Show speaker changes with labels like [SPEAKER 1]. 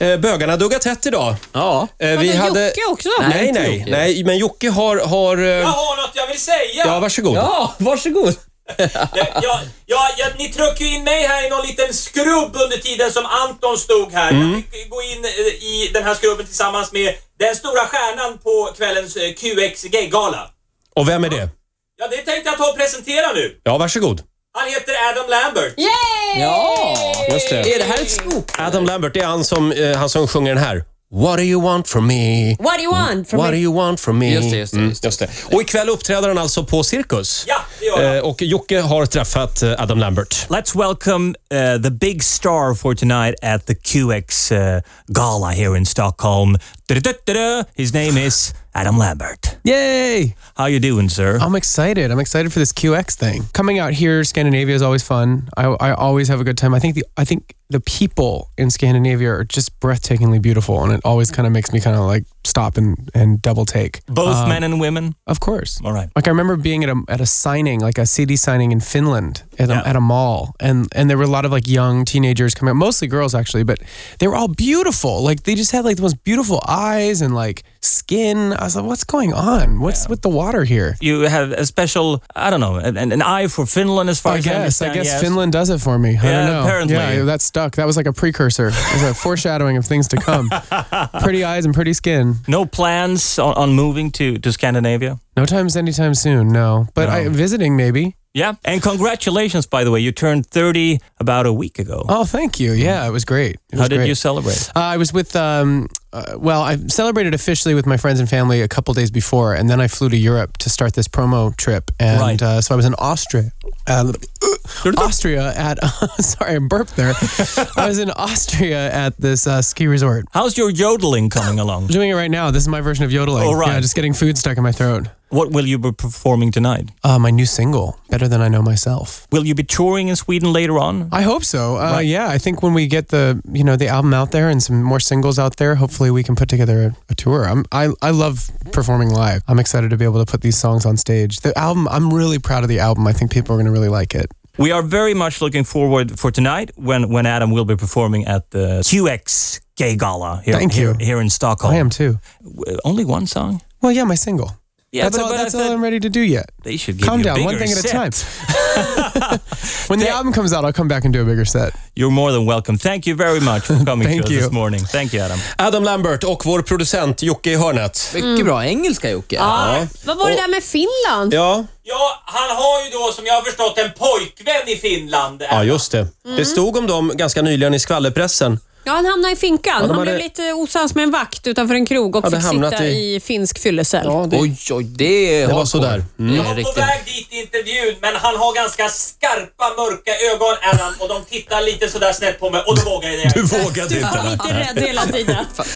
[SPEAKER 1] Eh, Bögarna duggar tätt idag.
[SPEAKER 2] Ja.
[SPEAKER 1] Eh,
[SPEAKER 3] Vadå, Jocke också?
[SPEAKER 1] Nej,
[SPEAKER 2] Ah, inte
[SPEAKER 1] nej,
[SPEAKER 2] Jocke.
[SPEAKER 1] nej, men Jocke har... har eh,
[SPEAKER 4] Jag har något jag vill säga!
[SPEAKER 1] ja, varsågod.
[SPEAKER 2] Ja, varsågod.
[SPEAKER 4] Jag, jag, jag, jag, ni tryckte ju in mig här i någon liten skrubb under tiden som Anton stod här.
[SPEAKER 5] Mm.
[SPEAKER 4] Jag fick gå in eh, i den här skrubben tillsammans med den stora stjärnan på kvällens eh, QX Gaygala.
[SPEAKER 1] Och vem är det?
[SPEAKER 4] Ja, det tänkte jag ta och presentera nu.
[SPEAKER 1] Ja, varsågod.
[SPEAKER 4] Han heter Adam Lambert.
[SPEAKER 3] Yay!
[SPEAKER 2] Ja.
[SPEAKER 1] Just
[SPEAKER 2] Är det här ett scoop?
[SPEAKER 1] Adam Lambert, det är han som, eh, han som sjunger den här. What do you want from me?
[SPEAKER 3] What do you want from
[SPEAKER 1] What do
[SPEAKER 3] me?
[SPEAKER 1] you want from me?
[SPEAKER 2] Just det, just det,
[SPEAKER 1] Mm,
[SPEAKER 2] just det.
[SPEAKER 1] Och ikväll uppträder han alltså på Cirkus.
[SPEAKER 4] Ja, det gör jag.
[SPEAKER 1] Eh, Och Jocke har träffat eh, Adam Lambert.
[SPEAKER 5] Let's welcome uh, the big star for tonight at the QX uh, Gala here in Stockholm. Da-da-da-da-da. His name is Adam Lambert.
[SPEAKER 6] Yay!
[SPEAKER 5] How you doing, sir?
[SPEAKER 1] Uh,
[SPEAKER 6] I'm excited. I'm excited for this QX thing. Coming out here, Scandinavia is always fun. I, I always have a good time. I think the I think the people in Scandinavia are just breathtakingly beautiful, and it always kind of makes me kind of like stop and, and double take.
[SPEAKER 5] Both men and women.
[SPEAKER 6] Of course.
[SPEAKER 5] All right.
[SPEAKER 6] Like I remember being at a at a signing, like a CD signing in Finland at a,
[SPEAKER 5] Yeah.
[SPEAKER 6] at a mall, and and there were a lot of like young teenagers coming, out, mostly girls actually, but they were all beautiful. Like they just had like the most beautiful eyes and like skin. I was like, what's going on? What's with the water here?
[SPEAKER 5] You have a special, I don't know, an, an eye for Finland as far
[SPEAKER 6] I
[SPEAKER 5] as
[SPEAKER 6] guess.
[SPEAKER 5] understand.
[SPEAKER 6] I guess
[SPEAKER 5] yes.
[SPEAKER 6] Finland does it for me. I
[SPEAKER 5] Yeah,
[SPEAKER 6] don't know.
[SPEAKER 5] apparently.
[SPEAKER 6] Yeah, that stuck. That was like a precursor. It was a foreshadowing of things to come. pretty eyes and pretty skin.
[SPEAKER 5] No plans on, on moving to, to Scandinavia?
[SPEAKER 6] No times anytime soon. No, but I, visiting maybe.
[SPEAKER 5] Yeah. And congratulations, by the way. You turned 30 about a week ago.
[SPEAKER 6] Oh, thank you. Yeah, it was great. It
[SPEAKER 5] How
[SPEAKER 6] was
[SPEAKER 5] did
[SPEAKER 6] great.
[SPEAKER 5] you celebrate?
[SPEAKER 6] Uh, I was with, um, uh, well, I celebrated officially with my friends and family a couple days before, and then I flew to Europe to start this promo trip. And
[SPEAKER 5] Right.
[SPEAKER 6] uh, so I was in Austria. Uh, Austria at, sorry, I burped there. I was in Austria at this uh, ski resort.
[SPEAKER 5] How's your yodeling coming along?
[SPEAKER 6] I'm doing it right now. This is my version of yodeling.
[SPEAKER 5] Oh, right.
[SPEAKER 6] Yeah, just getting food stuck in my throat.
[SPEAKER 5] What will you be performing tonight?
[SPEAKER 6] Uh, my new single, Better Than I Know Myself.
[SPEAKER 5] Will you be touring in Sweden later on?
[SPEAKER 6] I hope so. Uh, Yeah, I think when we get the you know the album out there and some more singles out there, hopefully we can put together a, a tour. I'm, I I love performing live. I'm excited to be able to put these songs on stage. The album, I'm really proud of the album. I think people are going to really like it.
[SPEAKER 5] We are very much looking forward for tonight when, when Adam will be performing at the QX Gay Gala here,
[SPEAKER 6] Thank
[SPEAKER 5] here,
[SPEAKER 6] you.
[SPEAKER 5] here in Stockholm.
[SPEAKER 6] I am too.
[SPEAKER 5] W- Only one song?
[SPEAKER 6] Well, yeah, my single.
[SPEAKER 5] Yeah,
[SPEAKER 6] that's
[SPEAKER 5] but-
[SPEAKER 6] all,
[SPEAKER 5] but I
[SPEAKER 6] that's all
[SPEAKER 5] thought-
[SPEAKER 6] I'm ready to do yet.
[SPEAKER 5] They should give
[SPEAKER 6] Calm
[SPEAKER 5] you a
[SPEAKER 6] down, one
[SPEAKER 5] bigger
[SPEAKER 6] thing at a
[SPEAKER 5] set.
[SPEAKER 6] time. when the album comes out, I'll come back and do a bigger set.
[SPEAKER 5] You're more than welcome. Thank you very much for coming to
[SPEAKER 6] Thank
[SPEAKER 5] us
[SPEAKER 6] you.
[SPEAKER 5] this morning. Thank you, Adam.
[SPEAKER 1] Adam Lambert och vår producent Jocke i hörnet.
[SPEAKER 2] Mycket bra engelska, Jocke.
[SPEAKER 3] Ja. Vad var det där med Finland?
[SPEAKER 1] Ja,
[SPEAKER 4] Ja, han har ju då som jag har förstått en pojkvän i Finland.
[SPEAKER 1] ja just det. Det stod om dem ganska nyligen i skvallerpressen.
[SPEAKER 3] Ja, han hamnade i finkan.
[SPEAKER 1] de
[SPEAKER 3] han blev
[SPEAKER 1] hade-
[SPEAKER 3] lite osams med en vakt utanför en krog och
[SPEAKER 1] Hade
[SPEAKER 3] fick
[SPEAKER 1] hamnat
[SPEAKER 3] sitta
[SPEAKER 1] i-
[SPEAKER 3] i, finsk fyllecell.
[SPEAKER 2] Oj, oj, det,
[SPEAKER 1] Det var sådär. Mm.
[SPEAKER 4] Jag var på väg dit i intervjun, men han har ganska skarpa, mörka ögon, Adam, och de tittar lite sådär snett på mig och då vågar jag det.
[SPEAKER 1] Du vågade
[SPEAKER 3] Du
[SPEAKER 1] inte.
[SPEAKER 3] var lite rädd hela tiden.